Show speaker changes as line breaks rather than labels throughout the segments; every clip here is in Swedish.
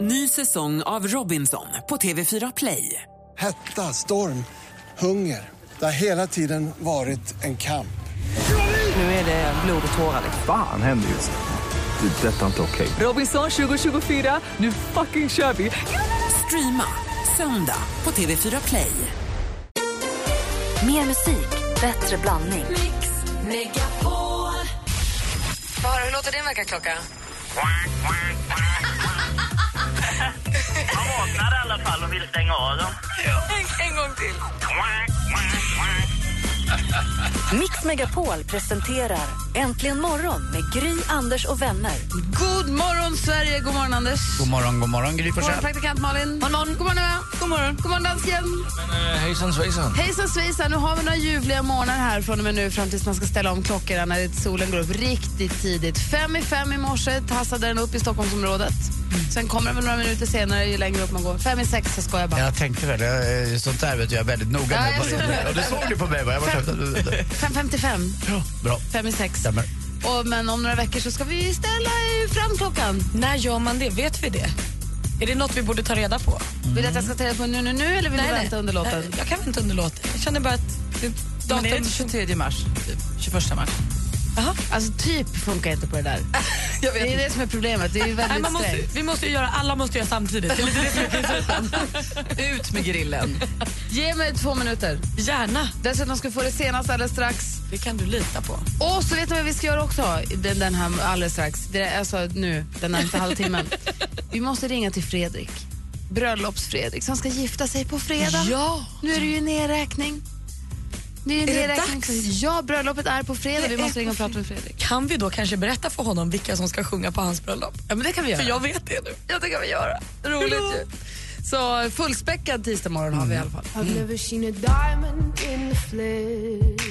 Ny säsong av Robinson på TV4 Play.
Hetta, storm, hunger. Det har hela tiden varit en kamp.
Nu är det blod och tårar. liksom.
Fan händer just nu. Det. är Detta är inte okej.
Robinson 2024, nu fucking kör vi! Streama söndag på TV4 Play.
Mer musik, bättre blandning.
Bara, hur låter din väckarklocka?
Han vaknade i alla fall och ville stänga av dem.
En, en gång till.
Mix Megapol presenterar Äntligen morgon med Gry, Anders och vänner.
God morgon, Sverige! God morgon, Anders.
God morgon, god morgon Gry
God morgon,
Forssell.
praktikant Malin. God morgon, God morgon, Eva. God morgon, God morgon dansken.
eh, Hejsan svejsan.
Hejsan svejsan, nu har vi några ljuvliga morgnar här från och med nu fram tills man ska ställa om klockorna när solen går upp riktigt tidigt. Fem i fem i morse tassade den upp i Stockholmsområdet.
Mm.
Sen kommer den väl några minuter senare ju längre upp man går. Fem i sex, jag skojar bara.
Jag tänkte väl, jag, eh, sånt där vet jag är väldigt noga
Ja,
med.
jag såg det.
Ja, du såg det på mig va? Jag var trött.
5.55,
Ja, eh, Bra,
fem i sex.
stämmer.
Och, men om några veckor så ska vi ställa eh, fram klockan.
När gör man det? Vet vi det? Är det något vi borde ta reda på?
Vill du att jag ska ta reda på nu, nu, nu eller vill du vänta under låten?
Nej, Jag kan inte underlåta. Jag känner bara att det, datum...
Men är det inte 23 mars? Typ 21 mars?
Alltså typ funkar inte på det där.
Jag vet
Det är det som är problemet. Det är ju
Nej, man
väldigt
måste,
strängt.
vi måste ju göra, alla måste göra samtidigt. Det är lite det som är principen.
Ut med grillen.
Ge mig två minuter.
Gärna.
Dessutom ska vi få det senaste alldeles strax.
Det kan du lita på.
Och så vet du vad vi ska göra också den, den här alldeles strax. Det är alltså nu, den närmsta halvtimmen. Vi måste ringa till Fredrik. Bröllops-Fredrik som ska gifta sig på fredag.
Ja.
Nu är det ju nedräkning. Nu är,
det
nedräkning.
dags?
Ja, bröllopet är på fredag. Vi
Det
måste
är
ringa och
på
prata med Fredrik.
Kan vi då kanske berätta för honom vilka som ska sjunga på hans bröllop?
Ja, men det kan vi göra.
För jag vet det nu.
Ja, det kan vi göra. Roligt ju. Så fullspäckad tisdag morgon har vi i alla fall.
Mm.
I've never seen a diamond in the flesh.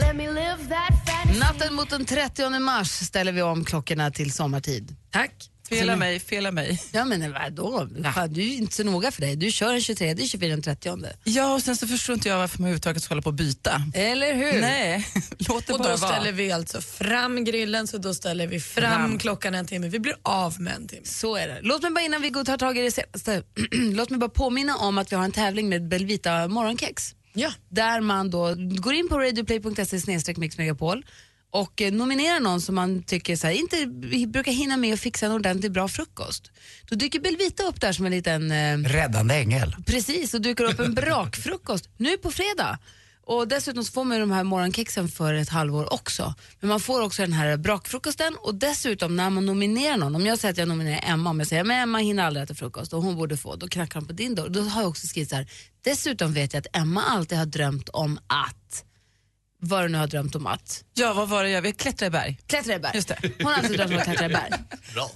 Let me live that fantasy.
Natten mot den 30 mars ställer vi om klockorna till sommartid.
Tack.
Fela mig, fela mig.
Ja men vadå? Fan, du är ju inte så noga för dig. Du kör den 23, 24, den 30.
Ja, och sen så förstår inte jag varför man överhuvudtaget ska hålla på och byta.
Eller hur?
Nej, låt det
Och
bara
då
vara.
ställer vi alltså fram grillen, så då ställer vi fram, klockan en timme. Vi blir av med en timme.
Så är det. Låt mig bara innan vi går och tar tag i det senaste, låt mig bara påminna om att vi har en tävling med Belvita morgonkex.
Ja.
Där man då går in på radioplay.se snedstreck mixmegapol och eh, nominerar någon som man tycker så här, inte hi- brukar hinna med att fixa en ordentligt bra frukost. Då dyker Belvita upp där som en liten eh,
Räddande ängel.
Precis, och dyker upp en brakfrukost nu på fredag. Och dessutom så får man ju de här morgonkexen för ett halvår också. Men man får också den här brakfrukosten och dessutom när man nominerar någon, om jag säger att jag nominerar Emma, om jag säger men Emma hinner aldrig äta frukost och hon borde få, då knackar han på din dörr. Då har jag också skrivit så här, dessutom vet jag att Emma alltid har drömt om att, vad du nu har drömt om att,
Ja, vad var det jag ville? Klättra i berg.
klättra i berg.
Just det.
Hon har alltid drömt om att klättra i berg.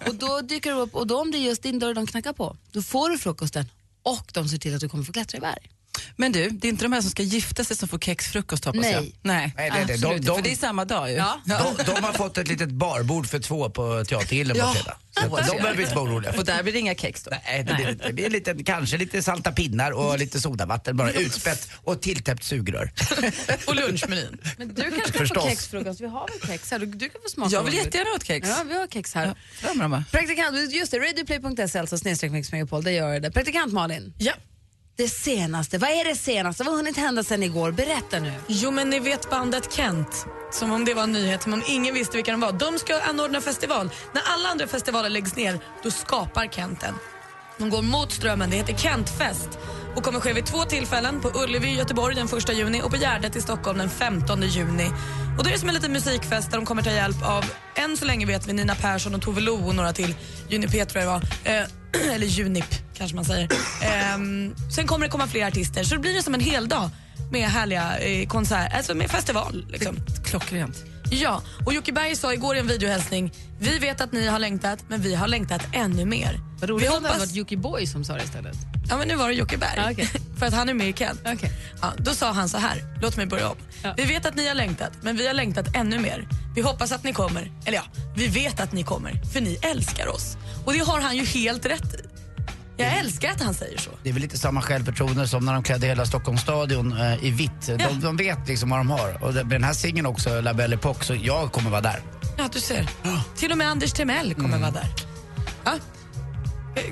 Och då dyker det upp, och då om det är just din dörr de knackar på, då får du frukosten och de ser till att du kommer få klättra i berg.
Men du, det är inte de här som ska gifta sig som får kexfrukost hoppas
Nej.
jag? Nej.
Nej, det, det, de,
Absolut,
de,
för det är samma dag ju.
Ja.
de, de har fått ett litet barbord för två på Teatergillen på
Ja.
fredag. Så att de behöver inte vara oroliga.
Och där blir det inga kex då? Mm.
Nej, det blir, det blir lite, kanske lite salta pinnar och lite sodavatten bara utspätt och tilltäppt sugrör.
Och lunchmenyn?
Men du kanske kan
Förstås.
få kexfrukost. Vi har väl kex här? Du, du kan få smaka.
Jag vill
om du-
jättegärna ha ett kex.
Ja, vi har kex här.
Fram med dem bara.
Praktikant, just det, radioplay.se alltså snedstreck Mix Megapol, det gör jag det. Praktikant Malin,
ja.
det senaste, vad är det senaste? Vad har hunnit hända sedan igår? Berätta nu.
Jo, men ni vet bandet Kent. Som om det var en nyhet, som om ingen visste vilka de var. De ska anordna festival. När alla andra festivaler läggs ner, då skapar Kent en. De går mot strömmen. Det heter Kentfest och kommer ske vid två tillfällen. På Ullevi i Göteborg den 1 juni och på Gärdet i Stockholm den 15 juni. Och då är det som en liten musikfest där de kommer ta hjälp av, än så länge vet vi, Nina Persson och Tove Lo och några till. Junipet tror jag det var. Eh, eller Junip kanske man säger. Ehm, sen kommer det komma fler artister så det blir det som en hel dag med härliga eh, konserter, alltså med festival. Liksom.
Klockrent.
Ja, och Jocke Berg sa igår i en videohälsning Vi vet att ni har längtat, men vi har längtat ännu mer.
Vad roligt
vi
om det hade varit Yuki Boy som sa det istället.
Ja, men nu var det Jocke Berg.
Ja, okej.
För att han är med i Kent.
Okej.
Ja, då sa han så här, låt mig börja om.
Ja.
Vi vet att ni har längtat, men vi har längtat ännu mer. Vi hoppas att ni kommer. Eller ja, vi vet att ni kommer, för ni älskar oss. Och det har han ju helt rätt i. Jag älskar att han säger så.
Det är väl lite samma självförtroende som när de klädde hela Stockholmsstadion eh, i vitt. De,
Ja.
de vet liksom vad de har. Och det- med den här singeln också, La Belle Époque, så jag kommer vara där.
Mm.
Ja, du ser. Till och med Anders Timell kommer vara där. Ja.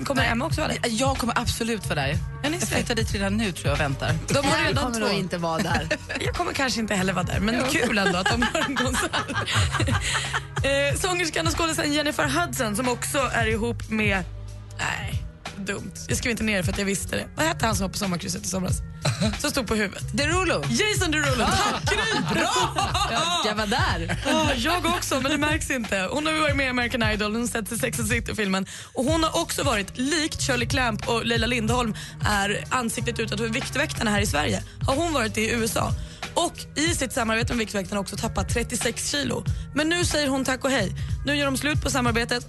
Kommer Emma också vara där?
Jag kommer absolut vara där. Jag flyttar dit redan nu tror jag och väntar.
De har
Jag
redan
kommer
två.
att inte vara där.
Jag kommer kanske inte heller vara där, men kul ändå att de har en konsert. eh, sångerskan och skådespelaren Jennifer Hudson som också är ihop med... Nej, dumt. Jag skrev inte ner det för att jag visste det. Vad hette han som var på sommarkrysset i somras? Som stod på huvudet.
Derulo,
Jason Derulo. Tack Gry! Bra!
jag var där.
Ja, jag också, men det märks inte. Hon har ju varit med i American Idol, hon har sett i Sex and City-filmen. Och hon har också varit, likt Shirley Clamp och Leila Lindholm, är ansiktet utåt för Viktväktarna här i Sverige. Har hon varit det i USA. Och i sitt samarbete med Viktväktarna också tappat 36 kilo. Men nu säger hon tack och hej. Nu gör de slut på samarbetet.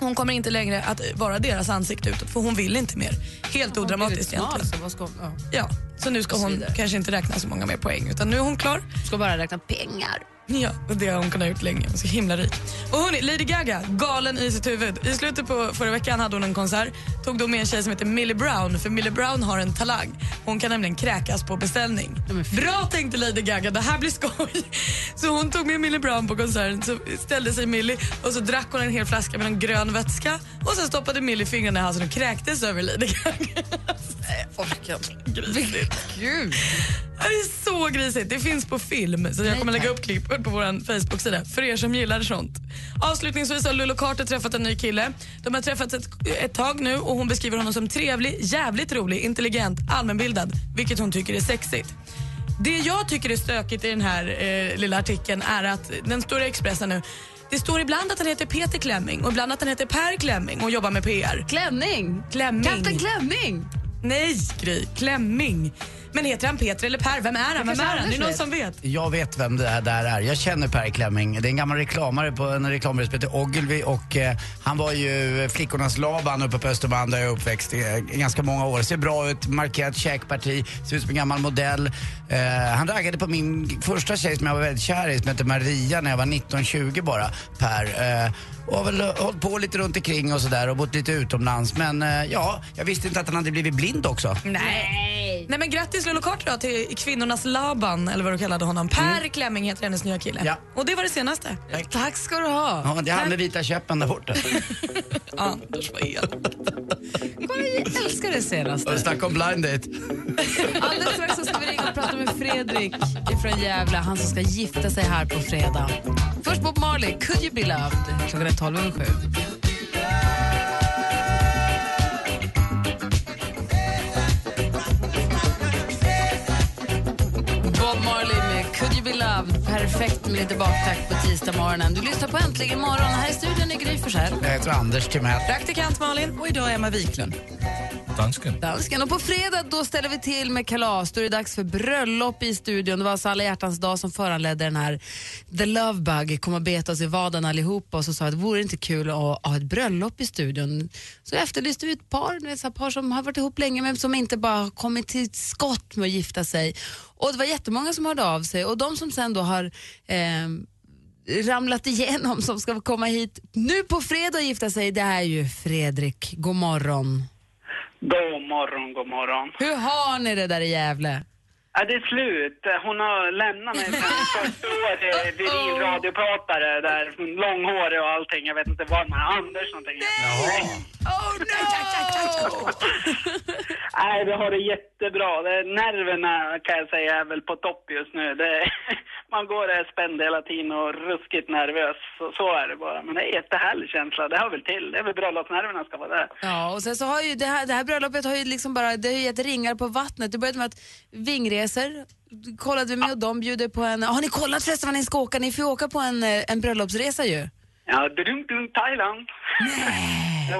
Hon kommer inte längre att vara deras ansikte utåt för hon vill inte mer. Helt odramatiskt egentligen.
Så vad ska, ja.
Ja, så nu ska hon kanske inte räkna så många mer poäng utan nu är hon klar.
ska bara räkna pengar.
Ja, och det har hon kunnat gjort länge. Så himla rik. Och hörni, Lady Gaga, galen i sitt huvud. I slutet på förra veckan hade hon en konsert. Tog då med en tjej som heter Millie Brown, för Millie Brown har en talang. Hon kan nämligen kräkas på beställning. Bra tänkte Lady Gaga, det här blir skoj. Så hon tog med Millie Brown på konserten, så ställde sig Millie och så drack hon en hel flaska med en grön vätska och sen stoppade Millie fingrarna i halsen och kräktes över Lady Gaga. Grisigt.
Gud.
Det är så grisigt. Det finns på film. Så jag kommer lägga upp klippet på vår Facebook-sida för er som gillar sånt. Avslutningsvis har Lulu Carter träffat en ny kille. De har träffats ett, ett tag nu och hon beskriver honom som trevlig, jävligt rolig, intelligent, allmänbildad, vilket hon tycker är sexigt. Det jag tycker är stökigt i den här eh, lilla artikeln är att den står i Expressen nu. Det står ibland att han heter Peter Klemming och ibland att han heter Per Klemming och jobbar med PR.
Klänning.
Klänning.
Kapten Klänning.
Nej, Gry. Klemming. Men heter han Peter eller Per? Vem är han? Vem
kanske
är han? Det
Anders
är någon
vet.
som vet.
Jag vet vem det här där är. Jag känner Per Klemming. Det är en gammal reklamare på en reklambyrå som heter Ogilvy och eh, han var ju flickornas Laban uppe på Östermalm där jag är uppväxt i eh, ganska många år. Ser bra ut, markerat käkparti, ser ut som en gammal modell. Eh, han raggade på min första tjej som jag var väldigt kär i som hette Maria när jag var 19-20 bara, Per. Eh, och har väl hållit på lite runt omkring och sådär och bott lite utomlands. Men eh, ja, jag visste inte att han hade blivit blind också.
Nej. Nej men grattis Lolo Carter då, till kvinnornas Laban eller vad du kallade honom. Per Klemming heter hennes nya kille.
Ja.
Och det var det senaste.
Tack ska du ha.
Ja, det är han med vita käppen där borta.
Anders vad elak.
Jag älskar det senast.
Snacka om blind date.
Alldeles strax så ska vi ringa och prata med Fredrik ifrån Gävle, han som ska gifta sig här på fredag. Först Bob Marley, Could you be loved? Klockan är 12 över sju. Bob Marley med Could you be loved? Perfekt med lite baktakt på tisdag morgonen. Du lyssnar på Äntligen morgon. Här i studion är Gry Forssell.
Jag heter Anders Timell.
Praktikant Malin.
Och idag är Emma Wiklund.
Dansken. Och på fredag då ställer vi till med kalas. Då är det dags för bröllop i studion. Det var alltså alla hjärtans dag som föranledde den här The Love Bug kom och bet oss i vaden allihopa och så sa att vore det inte kul att ha ett bröllop i studion? Så efterlyste vi ett par, ni vet, så här par som har varit ihop länge men som inte bara har kommit till skott med att gifta sig. Och det var jättemånga som hörde av sig och de som sen då har ehm, ramlat igenom som ska komma hit nu på fredag och gifta sig, det är ju Fredrik. God morgon.
God morgon, Mm, god morgon.
Hur har ni det där i Gävle?
Ja, det är slut. Hon har lämnat mig med en 40-årig viril radiopratare där långhårig och allting. Jag vet inte vad man Anders någonting. Nej!
Oh no!
Nej, vi har det jättebra. Det, nerverna kan jag säga är väl på topp just nu. Det, man går där spänd hela tiden och ruskigt nervös. Så, så är det bara. Men det är en jättehärlig känsla. Det hör väl till. Det är väl bröllopsnerverna ska vara där.
Ja, och sen så har ju det här, det här bröllopet har ju liksom bara, det har ju gett ringar på vattnet. Det började med att Vingresor kollade vi med och de bjuder på en, har ni kollat förresten vad ni ska åka? Ni får ju åka på en, eh, en bröllopsresa ju.
Ja, dunk dunk Thailand.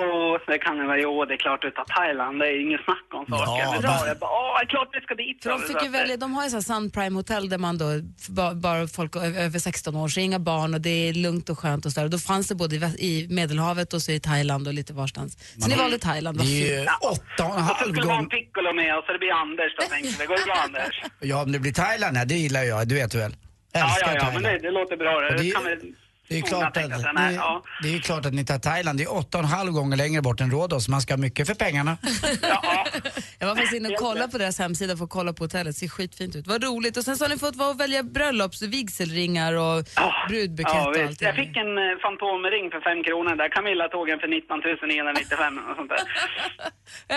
Jo, det kan det vara. Jo, det är klart utav Thailand. Det är inget snack om saken.
Ja,
Ja,
va?
bra. Jag bara, åh, det är klart vi ska dit.
För de fick ju välja, de har ju så här Sun Prime Hotel där man då, f- ba- bara folk ö- över 16 år, så inga barn och det är lugnt och skönt och sådär. Och Då fanns det både i Väst- i Medelhavet och så i Thailand och lite varstans. Så ni valde Thailand,
Det
vad fint.
är ju åtta och en
Jag
halv
skulle ha en
gång.
piccolo med oss, så det blir Anders då tänkte vi. Går det bra Anders?
Ja, om det blir Thailand, nej, det gillar jag. Du vet väl?
Ja,
Älskar
ja, ja, men
Thailand.
det, det låter bra.
Och
Det,
det-
kan vi
Det är, ju
Hon
klart
har
att,
tänkt att den är-
det,
ja.
det är ju klart att ni tar Thailand. Det är åtta och en halv gånger längre bort än Rhodos. Man ska ha mycket för pengarna.
Jag var faktiskt inne och kollade på deras hemsida för att kolla på hotellet. Det ser skitfint ut. Vad roligt. Och sen så har ni fått vara och välja bröllops, vigselringar och brudbukett
Ah, Ja,
och
visst.
allting.
Jag fick en eh, fantomring för 5 kronor där. Camilla tog en för 19 995 och sånt där.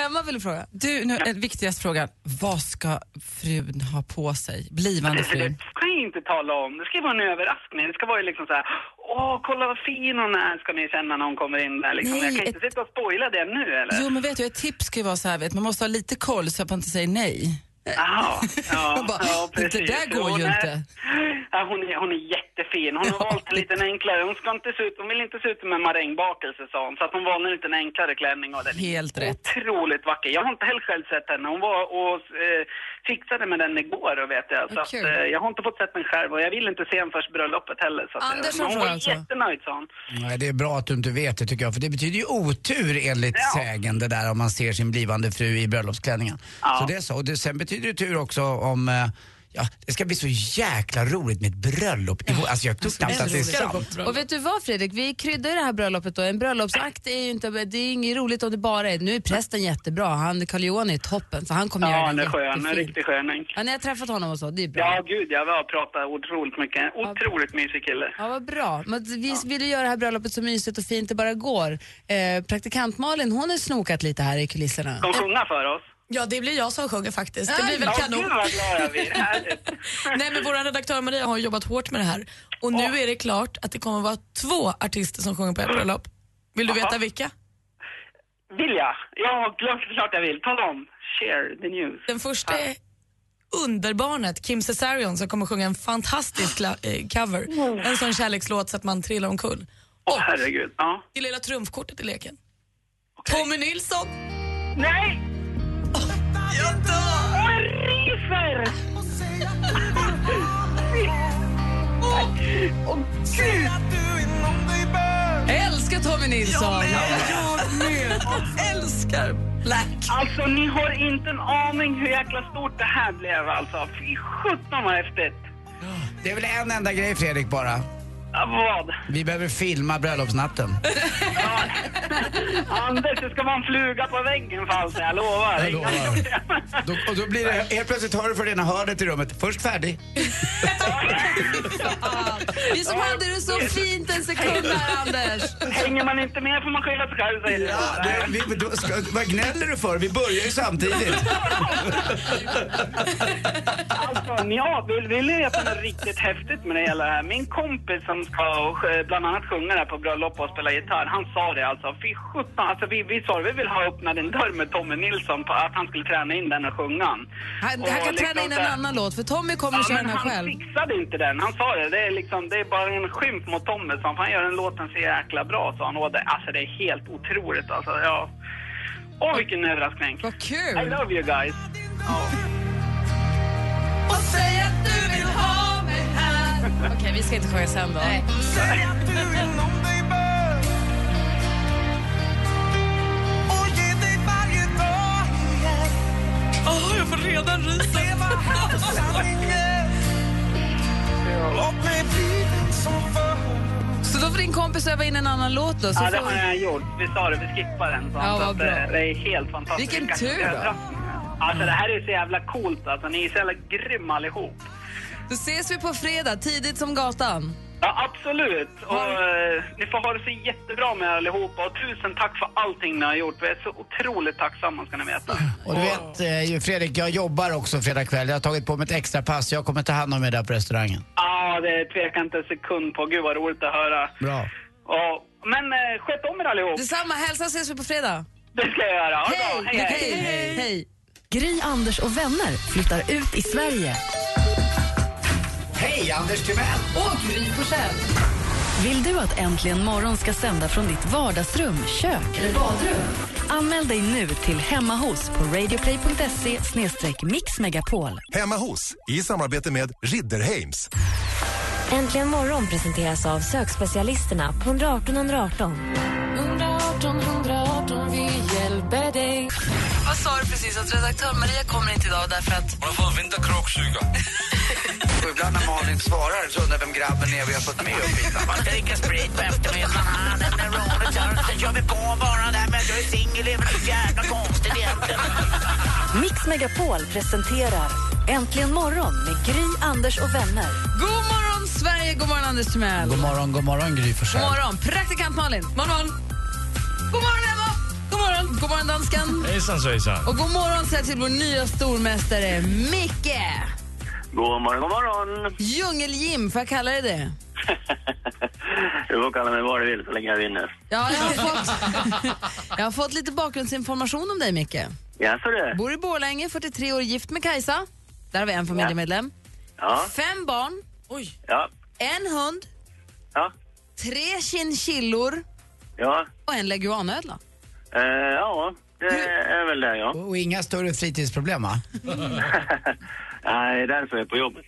Eh, man ville fråga.
Du, nu, en viktigast fråga. Vad ska frun ha på sig? Blivande
För det
frun.
kan jag inte tala om. Det ska ju vara en överraskning. Det ska vara ju liksom så här, åh, kolla vad fin hon är, ska ni känna när hon kommer in där liksom.
Nej,
jag kan
ett-
inte sitta och spoila det nu eller?
Jo, men vet du, ett tips ska ju vara så här, vet, man måste ha lite koll så att man inte säger nej.
Jaha, ja,
Jag bara,
ja,
det
precis.
där går
Hon
ju
är-
inte.
Ja, hon, är, hon är jättefin. Hon har valt en liten enklare. Hon, ska inte se ut, hon vill inte se ut som en marängbakelse, sa hon. Så att hon valde en liten enklare klänning. Och den är
Helt
Mm.
rätt.
Otroligt vacker. Jag har inte heller själv sett henne. Hon var och eh, fixade med den igår, och vet jag. Så
Vad
att,
kul.
eh, jag har inte fått sett den själv och jag vill inte se henne först bröllopet heller. Så att, eh,
Anders
men hon
har
var
alltså.
jättenöjd, sa hon.
Nej, det är bra att du inte vet det tycker jag, för det betyder ju otur enligt
Ja.
sägen det där om man ser sin blivande fru i bröllopsklänningen. Så det är så. Och det, sen betyder det tur också om eh, Ja, det ska bli så jäkla roligt med ett bröllop i vår. Alltså jag tror knappt att det är sant.
Och vet du vad Fredrik, vi kryddar ju det här bröllopet då. En bröllopsakt är ju inte, det är inget roligt om det bara är, nu är prästen jättebra, han Carl Johan är toppen så han kommer
Ja,
göra
han
det
är skön. En
jättefint.
riktig sköning.
Ja, ni har träffat honom och så, det är bra.
Ja, gud, jag har pratat otroligt mycket. Otroligt mysig kille.
Ja, vad bra. Men vi ville göra det här bröllopet så mysigt och fint det bara går. Eh, praktikant Malin, hon har snokat lite här i kulisserna.
Ska hon sjunga för oss?
Ja, det blir jag som sjunger faktiskt. Det blir väl
Ja,
kanon.
gud vad glad jag blir. Härligt.
Nej, men vår redaktör Maria har jobbat hårt med det här och nu är det klart att det kommer vara två artister som sjunger på ett bröllop. Vill du veta vilka?
Vill jag? Ja, klart, klart jag vill. Tala om. Share the news.
Den första är underbarnet Kim Cesarion som kommer sjunga en fantastisk la- eh, cover. En sån kärlekslåt så att man trillar omkull.
Åh,
Och
herregud. Ja.
det lilla trumfkortet i leken. Tommy Nilsson!
Nej! Åh, jag ryser!
Jag älskar Tommy Nilsson!
Alltså, ni har inte en aning hur jäkla stort det här blev alltså. Fy sjutton vad häftigt.
Det är väl en enda grej Fredrik bara.
Ja, vad?
Vi behöver filma bröllopsnatten.
Anders, det ska vara en fluga på väggen Falsen, jag lovar.
Jag lovar. Då, och då blir det, helt plötsligt hör du för det ena hörnet i rummet, först färdig.
Vi som hade det så fint en sekund här, Anders.
Hänger man inte med får man skylla sig själv, säger
Ja,
jag.
det, vi, då, ska, vad gnäller du för? Vi börjar ju samtidigt.
Alltså, ja, vill, vill ni veta något riktigt häftigt med det hela här? Min kompis som ska och, eh, bland annat sjunga där på bröllop och spela gitarr, han sa det alltså. Fy sjutton, alltså vi, vi sa vi vill ha öppnat en dörr med Tommy Nilsson på att han skulle träna in den och sjunga.
Han,
Och liksom
han kan träna in
så
en
här-
annan låt, för Tommy kommer att
Ja,
köra
men
den här
han
själv.
fixade inte den. Han sa det. Det är, liksom, det är bara en skymf mot Tommy. sa han. För han gör den låten så jäkla bra, sa han. Och det, alltså, det är helt otroligt. Alltså, ja. Åh, vilken överraskning.
Vad
I
kul!
love you guys.
Okej, vi ska inte sjunga sen då. Så då får din kompis öva in en annan låt då. Så
Ja, det
får...
har jag gjort. Vi sa det, vi skippar den. Så
Ja,
så
vad
att,
bra.
eh, Det är helt fantastiskt.
Vilken
Kanske
tur då.
överraskning. Alltså, det här är så jävla coolt. Alltså, ni är så jävla grymma allihop.
Då ses vi på fredag, tidigt som gatan.
Ja, absolut. Och, eh, ni får ha det så jättebra med er allihopa. Och tusen tack för allting ni har gjort. Vi är så otroligt tacksamma, ska ni veta.
Och du vet eh, ju, Fredrik, jag jobbar också fredag kväll. Jag har tagit på mig ett extra pass. Jag kommer ta hand om er där på restaurangen.
Ja, det tvekar inte en sekund på. Gud vad roligt att höra.
Bra.
Ja, men eh, sköt om er allihop.
Detsamma, hälsa ses vi på fredag.
Det ska jag göra. Ha det bra.
Hej, hej, hej. hej.
Gry, Anders och vänner flyttar ut i Sverige.
Hej, Anders Timell!
Och Gry Forssell.
Vill du att Äntligen morgon ska sända från ditt vardagsrum, kök eller badrum? Anmäl dig nu till Hemma hos på radioplay.se mixmegapol.
Hemma hos, i samarbete med Ridderheims.
Äntligen morgon presenteras av sökspecialisterna på 118 118.
Vad sa du precis att redaktör Maria kommer inte idag därför att...
Hon har fått vinterkråksuga.
Och ibland när Malin svarar så undrar vem grabben är vi har fått med upp hit.
Man ska dricka sprit på eftermiddagen. Den är roligt. Sen kör vi på bara där med att jag är singel. Det är väl så jävla konstigt egentligen.
Mix Megapol presenterar Äntligen morgon med Gry, Anders och vänner.
God morgon, Sverige! God morgon, Anders Timell!
God morgon, god morgon Gry
God
Forssell.
morgon, praktikant Malin! morgon! God morgon, Emma! God morgon, god morgon danskan!
Hejsan svejsan.
Och god morgon säger jag till vår nya stormästare Micke!
God morgon, god morgon!
Djungel-Jim, får jag kalla dig det?
Du får kalla mig vad du vill så länge jag vinner.
Ja, jag har fått, jag har fått lite bakgrundsinformation om dig, Micke.
Jaså du?
Bor i Borlänge, 43 år, gift med Kajsa. Där har vi en familjemedlem.
Ja.
Fem barn. Oj.
Ja.
En hund.
Ja.
Tre chinchillor
Ja.
och en leguanödla.
Eh, ja, det är väl det ja.
Och inga större fritidsproblem va?
Nej, därför är jag på jobbet.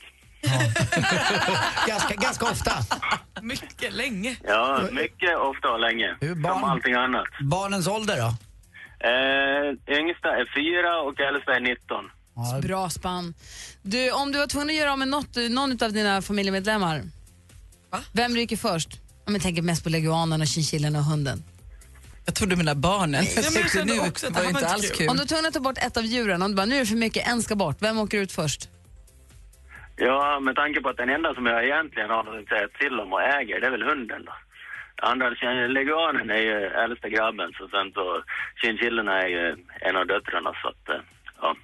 ganska, ganska ofta.
Mycket länge.
eh.
Ja, mycket, ofta och länge. Som allting annat.
Barnens ålder då?
Eh, yngsta är fyra och äldsta är 19.
Bra spann. Du, om du var tvungen att göra av med något, någon av dina familjemedlemmar, vem ryker först? Om jag tänker mest på leguanen och chinchillan och hunden.
Jag trodde mina barnen.
Nej, men jag kände också att det här var inte
alls kul.
Om du var tvungen att ta bort ett av djuren, om du bara nu är det för mycket, en ska bort, vem åker ut först?
Ja, med tanke på att den enda som jag egentligen har något att säga till om och äger, det är väl hunden då. Andra känner- leguanen är ju äldsta grabben, så sen så chinchillorna är ju en av döttrarna, så att eh, ja.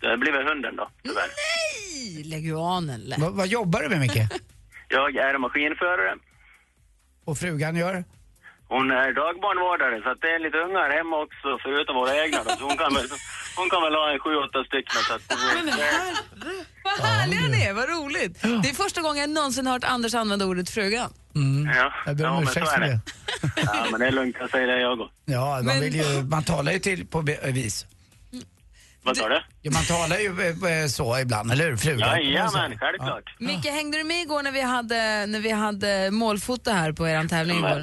Det blir väl hunden då, tyvärr.
Nej! Leguanen lät.
Vad- vad jobbar du med Micke?
Jag är maskinförare.
Och frugan gör?
Hon är dagbarnvårdare, så att det är lite ungar hemma också, förutom våra egna då. Så hon kan väl, hon kan väl ha en sju, åtta stycken. Så att,
Vad härliga ni är, vad roligt! Det är första gången jag någonsin hört Anders använda ordet frugan.
ja,
Jag ber om
ja, men
ursäkt
så är
för det.
det. Ja, men det är lugnt, jag säger det jag går.
Ja, man,
Men-
vill ju, man talar ju till på be- vis.
Vad sa du?
Ja, man talar ju eh, eh, så ibland, eller hur? Frugan?
Jajamän, självklart.
Micke, hängde du med igår när vi hade, när vi hade målfoto här på er tävling igår?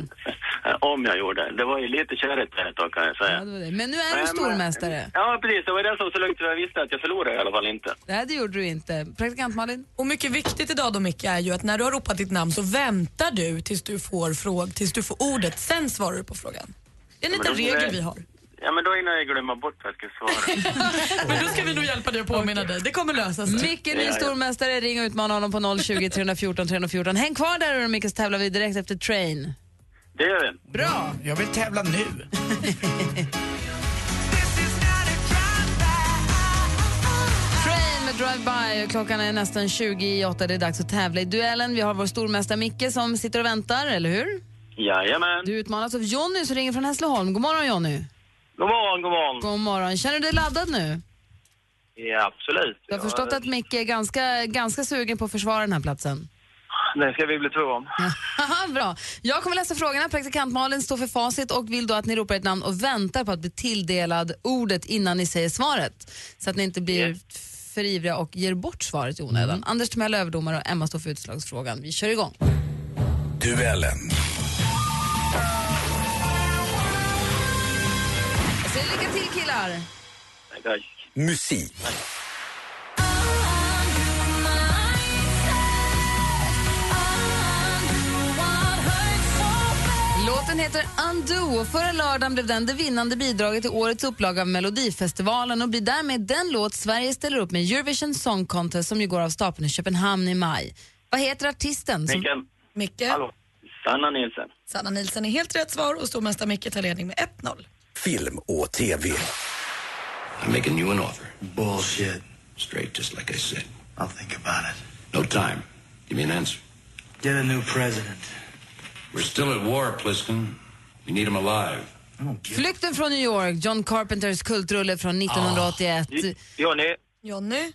Eh, Om jag gjorde. Det var ju lite körigt där ett tag kan jag säga.
Det var det. Men nu är du
Men-
stormästare.
Ja, precis. Det var det som så lugnt jag visste att jag förlorade i alla fall inte.
Nej, det gjorde du inte. Praktikant Malin?
Och mycket viktigt idag då Micke är ju att när du har ropat ditt namn så väntar du tills du får, fråg, tills du får ordet, sen svarar du på frågan. Det är en
Ja, men
liten
då-
regel vi har.
Ja, men då innan jag glömmer bort vad jag ska svara.
Men då ska vi nog hjälpa dig att påminna dig. Det kommer lösa sig.
Micke, ny stormästare. Ring och utmana honom på 020 314 314. Häng kvar där och Micke så tävlar vi direkt efter Train.
Det gör vi.
Bra! Jag vill tävla nu.
Train med Drive-By. Klockan är nästan 20 i åtta. Det är dags att tävla i duellen. Vi har vår stormästare Micke som sitter och väntar, eller hur?
Jajamän.
Du utmanas av Jonny som ringer från Hässleholm. God morgon Jonny.
God morgon, god morgon.
God morgon. Känner du dig laddad nu?
Ja, absolut.
Jag har förstått att Micke är ganska, ganska sugen på att försvara den här platsen.
Det ska vi bli två om.
Haha, Bra. Jag kommer läsa frågorna. Praktikant Malin står för facit och vill då att ni ropar ett namn och väntar på att bli tilldelad ordet innan ni säger svaret. Så att ni inte blir för ivriga och ger bort svaret i onödan. Anders Timell är överdomare och Emma står för utslagsfrågan. Vi kör igång.
Duellen.
Jag säger lycka till killar.
Musik.
Låten heter Undo och förra lördagen blev den det vinnande bidraget i årets upplaga av Melodifestivalen och blir därmed den låt Sverige ställer upp med i Eurovision Song Contest som ju går av stapeln i Köpenhamn i maj. Vad heter artisten? Som...
Mikael.
Micke.
Sanna Nilsen.
Sanna Nilsson är helt rätt svar och stormästare Micke tar ledning med 1-0.
Film och TV. I make a new an offer. Bullshit. Straight just like I said. I'll think about it. No time. Give me an answer. Get a new president. We're still at war, Pliskin. We need him alive.
Flykten från New York, John Carpenters kultrulle från 1981.
Johnny.
Jonny.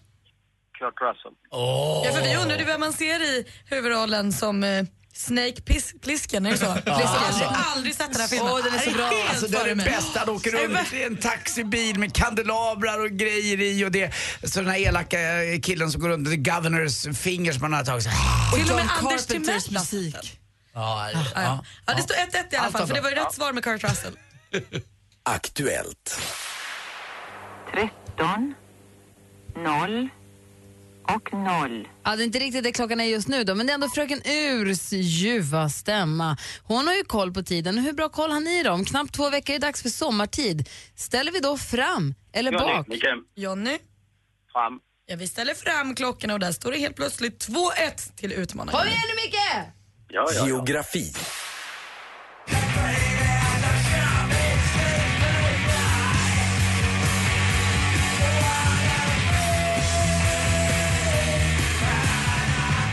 Kurt Russell.
Ja, för vi undrade vem man ser i huvudrollen som eh, Snake Pis- Plissken, är det så? Plisken. Jag har aldrig sett den här filmen.
Åh, den är så bra.
helt
Alltså, det är
före
det
mig.
bästa. Han åker runt i en taxibil med kandelabrar och grejer i och det. Så den här elaka eh, killen som går runt, the governors fingers man har tagit så här.
Till och med
John
Anders
Carpenters
Timells musik.
Ah, Ja, ja,
Ja, ja, det står 1-1 i alla
Allt
fall,
var
för det
bra.
var ju rätt svar med Kurt Russell.
Aktuellt.
13, 0 och 0.
Ja, det är inte riktigt det klockan är just nu då, men det är ändå fröken Urs ljuva stämma. Hon har ju koll på tiden. Hur bra koll har ni då? Om knappt två veckor är det dags för sommartid. Ställer vi då fram eller
Johnny,
bak?
Mikael. Jonny?
Fram.
Ja, vi ställer fram klockorna och där står det helt plötsligt 2-1 till utmanaren.
Kom igen nu Micke!
Ja, ja, ja.
Geografi.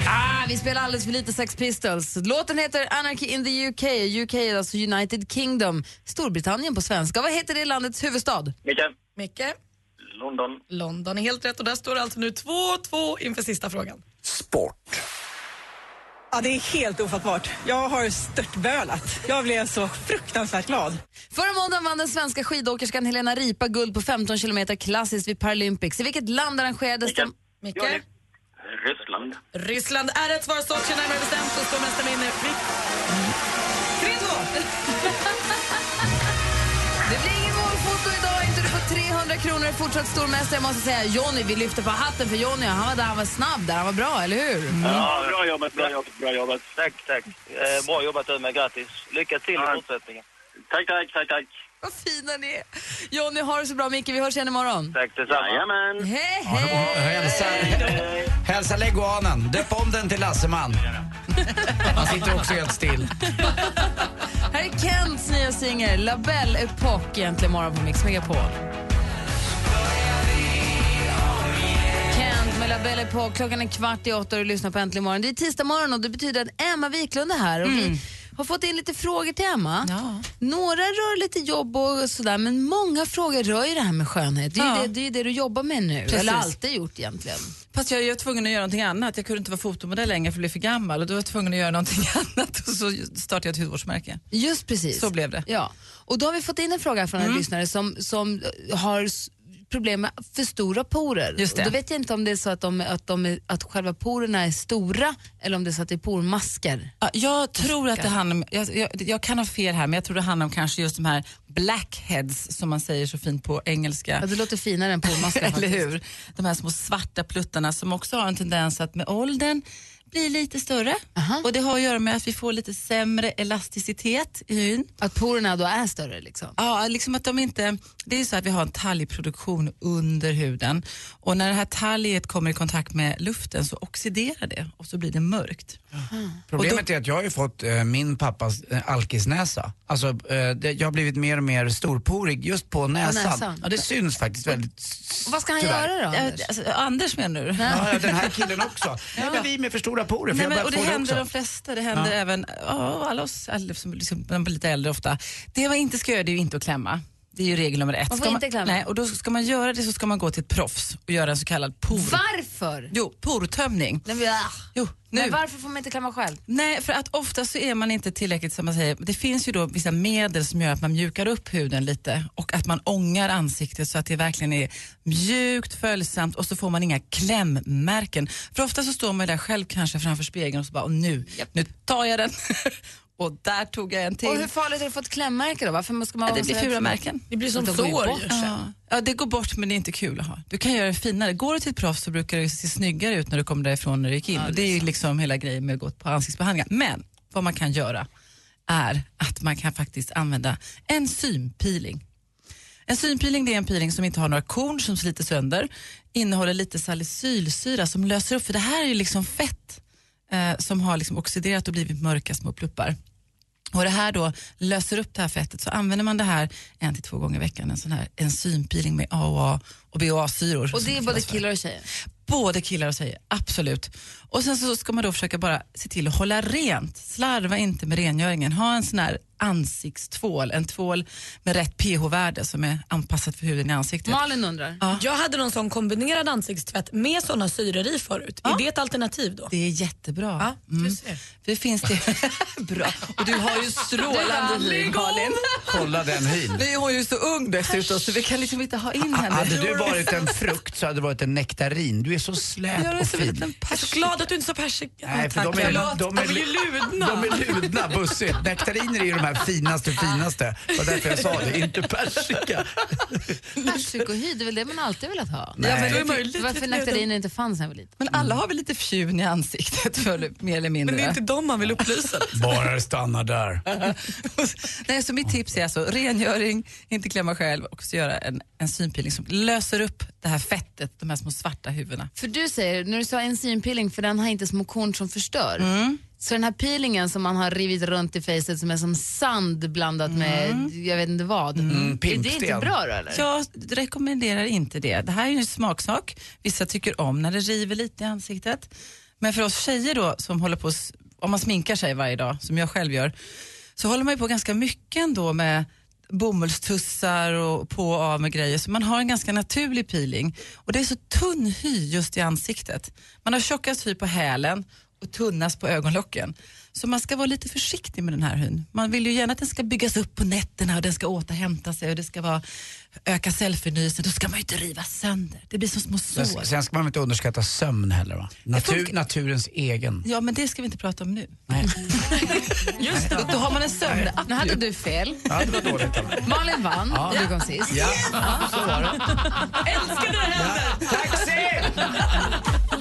Ah, vi spelar alldeles för lite Sex Pistols. Låten heter Anarchy in the UK. UK är alltså United Kingdom, Storbritannien på svenska. Vad heter det landets huvudstad?
Mikael.
Micke?
London.
London är helt rätt och där står det alltså nu 2-2 inför sista frågan.
Sport.
Ja, det är helt ofattbart. Jag har störtbölat. Jag blev så fruktansvärt glad.
Förra måndagen vann den svenska skidåkerskan Helena Ripa guld på 15 kilometer klassiskt vid Paralympics. I vilket land arrangerades den...
Micke?
Ryssland.
Ryssland är rätt svar. Sotji närmare bestämt och stormästaren vinner. Fritt.
3-2! Det blir ingen målfoto idag, inte du får 300 kronor. Fortsatt stormästare. Jag måste säga Jonny, vi lyfter på hatten för Jonny. Han var där, han var snabb där, han var bra, eller hur?
Ja, bra jobbat, bra jobbat, bra jobbat. Mm. Tack, tack. Eh, bra jobbat du med, grattis. Lycka till i fortsättningen. Tack, tack, tack, tack.
Vad fina ni är. Jonny, har det så bra. Micke, vi hörs igen imorgon.
Tack detsamma. Jajamän.
Hej,
Ja, det var-
hej!
Hälsa, hälsa leguanen. Döp om den till Lasseman. Han sitter också helt still.
Här är Kents nya singel, La Belle Epoque, egentligen morgon på Mix Megapol. Kent med La Belle Epoque, klockan är kvart i åtta och du lyssnar på Äntligen morgon. Det är tisdag morgon och det betyder att Emma Wiklund är här. Och
Mm.
Vi har fått in lite frågor till Emma. Några rör lite jobb och sådär, men många frågor rör ju det här med skönhet. Det är ju
Ja.
det, det, är ju det du jobbar med nu,
Precis.
eller alltid gjort egentligen.
Fast jag, jag var tvungen att göra någonting annat. Jag kunde inte vara fotomodell längre för jag blev för gammal och då var jag tvungen att göra någonting annat och så startade jag ett hudvårdsmärke.
Just precis.
Så blev det. Mm.
Ja. Och då har vi fått in en fråga från en lyssnare som, som har s- problem med för stora porer.
Just det.
Och Då vet jag inte om det är så att, de, att, de är, att själva porerna är stora eller om det är så att det är pormasker.
Ja, Jag tror att det handlar om, jag, jag, jag kan ha fel här, men jag tror det handlar om kanske just de här blackheads som man säger så fint på engelska.
Ja, det låter finare än pormasker
Eller
faktiskt.
hur? De här små svarta pluttarna som också har en tendens att med åldern bli lite större. Och det har att göra med att vi får lite sämre elasticitet i hyn.
Att porerna då är större liksom?
Ja, liksom att de inte, det är ju så att vi har en talgproduktion under huden och när det här talget kommer i kontakt med luften så oxiderar det och så blir det mörkt.
Problemet är att jag har ju fått eh, min pappas eh, alkisnäsa. Alltså, eh, det, jag har blivit mer och mer storporig just på näsan.
näsan.
Ja, det syns faktiskt väldigt.
Och
vad ska han göra då, Anders?
Alltså, Anders menar du?
Ja, ja, den här killen också. Nej, men vi är med för stora porer. För
Nej, men,
jag börjar
och det
få
händer
också.
de flesta, det händer
Ja.
även ja, alla oss alla som liksom, de blir lite äldre ofta. Det man inte ska göra det är ju inte att klämma. Det är ju regel nummer ett.
Man får
Ska
inte klämma.
Nej, och då ska man göra det så ska man gå till ett proffs och göra en så kallad por.
Varför?
Jo, portömning.
Nej, men, ah.
Jo, nu.
Men varför får man inte klämma själv?
Nej, för att ofta så är man inte tillräckligt som man säger. Det finns ju då vissa medel som gör att man mjukar upp huden lite och att man ångar ansiktet så att det verkligen är mjukt, följsamt och så får man inga klämmärken. För ofta så står man ju där själv kanske framför spegeln och så bara, och nu, nu tar jag den. och där tog jag en till.
Och hur farligt är det att få ett klämmärke då? Varför ska man
Ja, det blir fula märken.
Det går ju bort.
Ja. ja, det går bort men det är inte kul att ha. Du kan göra det finare. Går du till ett proffs så brukar det se snyggare ut när du kommer därifrån när du gick in.
Ja,
Och
det
det
är
är ju liksom hela grejen med att gå på ansiktsbehandlingar. Men vad man kan göra är att man kan faktiskt använda enzympeeling. En synpeeling det är en peeling som inte har några korn som sliter sönder, innehåller lite salicylsyra som löser upp, för det här är ju liksom fett eh, som har liksom oxiderat och blivit mörka små pluppar. Och det här då löser upp det här fettet så använder man det här en till två gånger i veckan, en sån här enzympeeling med AHA och BHA-syror.
Och det är
som
både
kallas för.
killar och tjejer?
Både killar och tjejer, absolut. Och sen så ska man då försöka bara se till att hålla rent. Slarva inte med rengöringen. Ha en sån här ansiktstvål, en tvål med rätt pH-värde som är anpassat för huden i ansiktet.
Malin undrar.
Jag hade någon sån kombinerad ansiktstvätt med sådana syror i förut. Är det ett alternativ då?
Det är jättebra. Mm. Det finns det. Bra. Och du har ju strålande liv, Malin.
Kolla den hyn.
Nu är hon ju så ung dessutom så vi kan liksom inte ha in henne.
Hade du varit en frukt så hade du varit en nektarin. Du är så slät
Jag är
och
så
fin.
liten
Jag är så glad att du inte sa persika.
Nej, för de är, de är,
Förlåt, de är ju ludna.
De är ludna, bussigt. Nektariner är ju de här finaste, finaste. Det var därför jag sa det, inte persika.
Persikohy, det är väl det man alltid velat ha?
Nej. Ja, men det är möjligt.
det var för nektariner inte fanns när jag var liten.
Men alla har väl lite fjun i ansiktet, för, mer eller mindre.
Men det är inte
dem man vill upplysa.
Bara det stannar där.
Nej, så mitt tips är alltså rengöring, inte klämma själv och så göra en, en synpeeling som löser upp det här fettet, de här små svarta huvudena.
För du säger, när du sa enzympeeling, för den har inte små korn som förstör. Så den här peelingen som man har rivit runt i facet som är som sand blandat med jag vet inte vad. är det inte bra då eller?
Jag rekommenderar inte det. Det här är ju en smaksak. Vissa tycker om när det river lite i ansiktet. Men för oss tjejer då som håller på, och s- om man sminkar sig varje dag, som jag själv gör, så håller man ju på ganska mycket ändå med bomullstussar och på och av med grejer. Så man har en ganska naturlig peeling. Och det är så tunn hy just i ansiktet. Man har tjockast hy på hälen och tunnast på ögonlocken. Så man ska vara lite försiktig med den här hyn. Man vill ju gärna att den ska byggas upp på nätterna och den ska återhämta sig och det ska vara, öka cellförnyelsen. Då ska man ju inte riva sönder. Det blir som små sår.
Sen, sen ska man väl inte underskatta sömn heller va? Natur, naturens egen.
Ja, men det ska vi inte prata om nu.
Nej.
Just Då har man en sömnapp.
Nu hade du fel.
Ja, det var dåligt. av mig.
Malin vann,
Ja.
du kom sist.
Ja, så var det.
Älskar när det händer!
Taxi!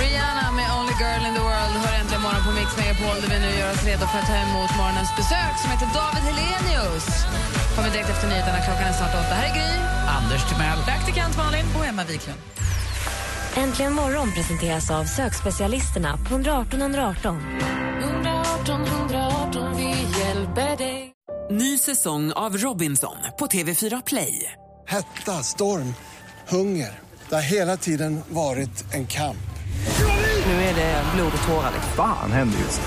Rihanna med Only Girl in the World hör äntligen morgon på Mix Megapol där vi nu gör oss redo för att ta emot morgonens besök som heter David Helenius. Kommer direkt efter nyheterna, klockan är snart åtta. Här är Gry.
Anders Timell.
Praktikant Malin. Och Emma Wiklund.
Äntligen morgon presenteras av sökspecialisterna på 118 118.
118 118, vi hjälper dig.
Ny säsong av Robinson på TV4 Play.
Hetta, storm, hunger. Det har hela tiden varit en kamp.
Nu är det blod och tårar. liksom.
Fan händer just det.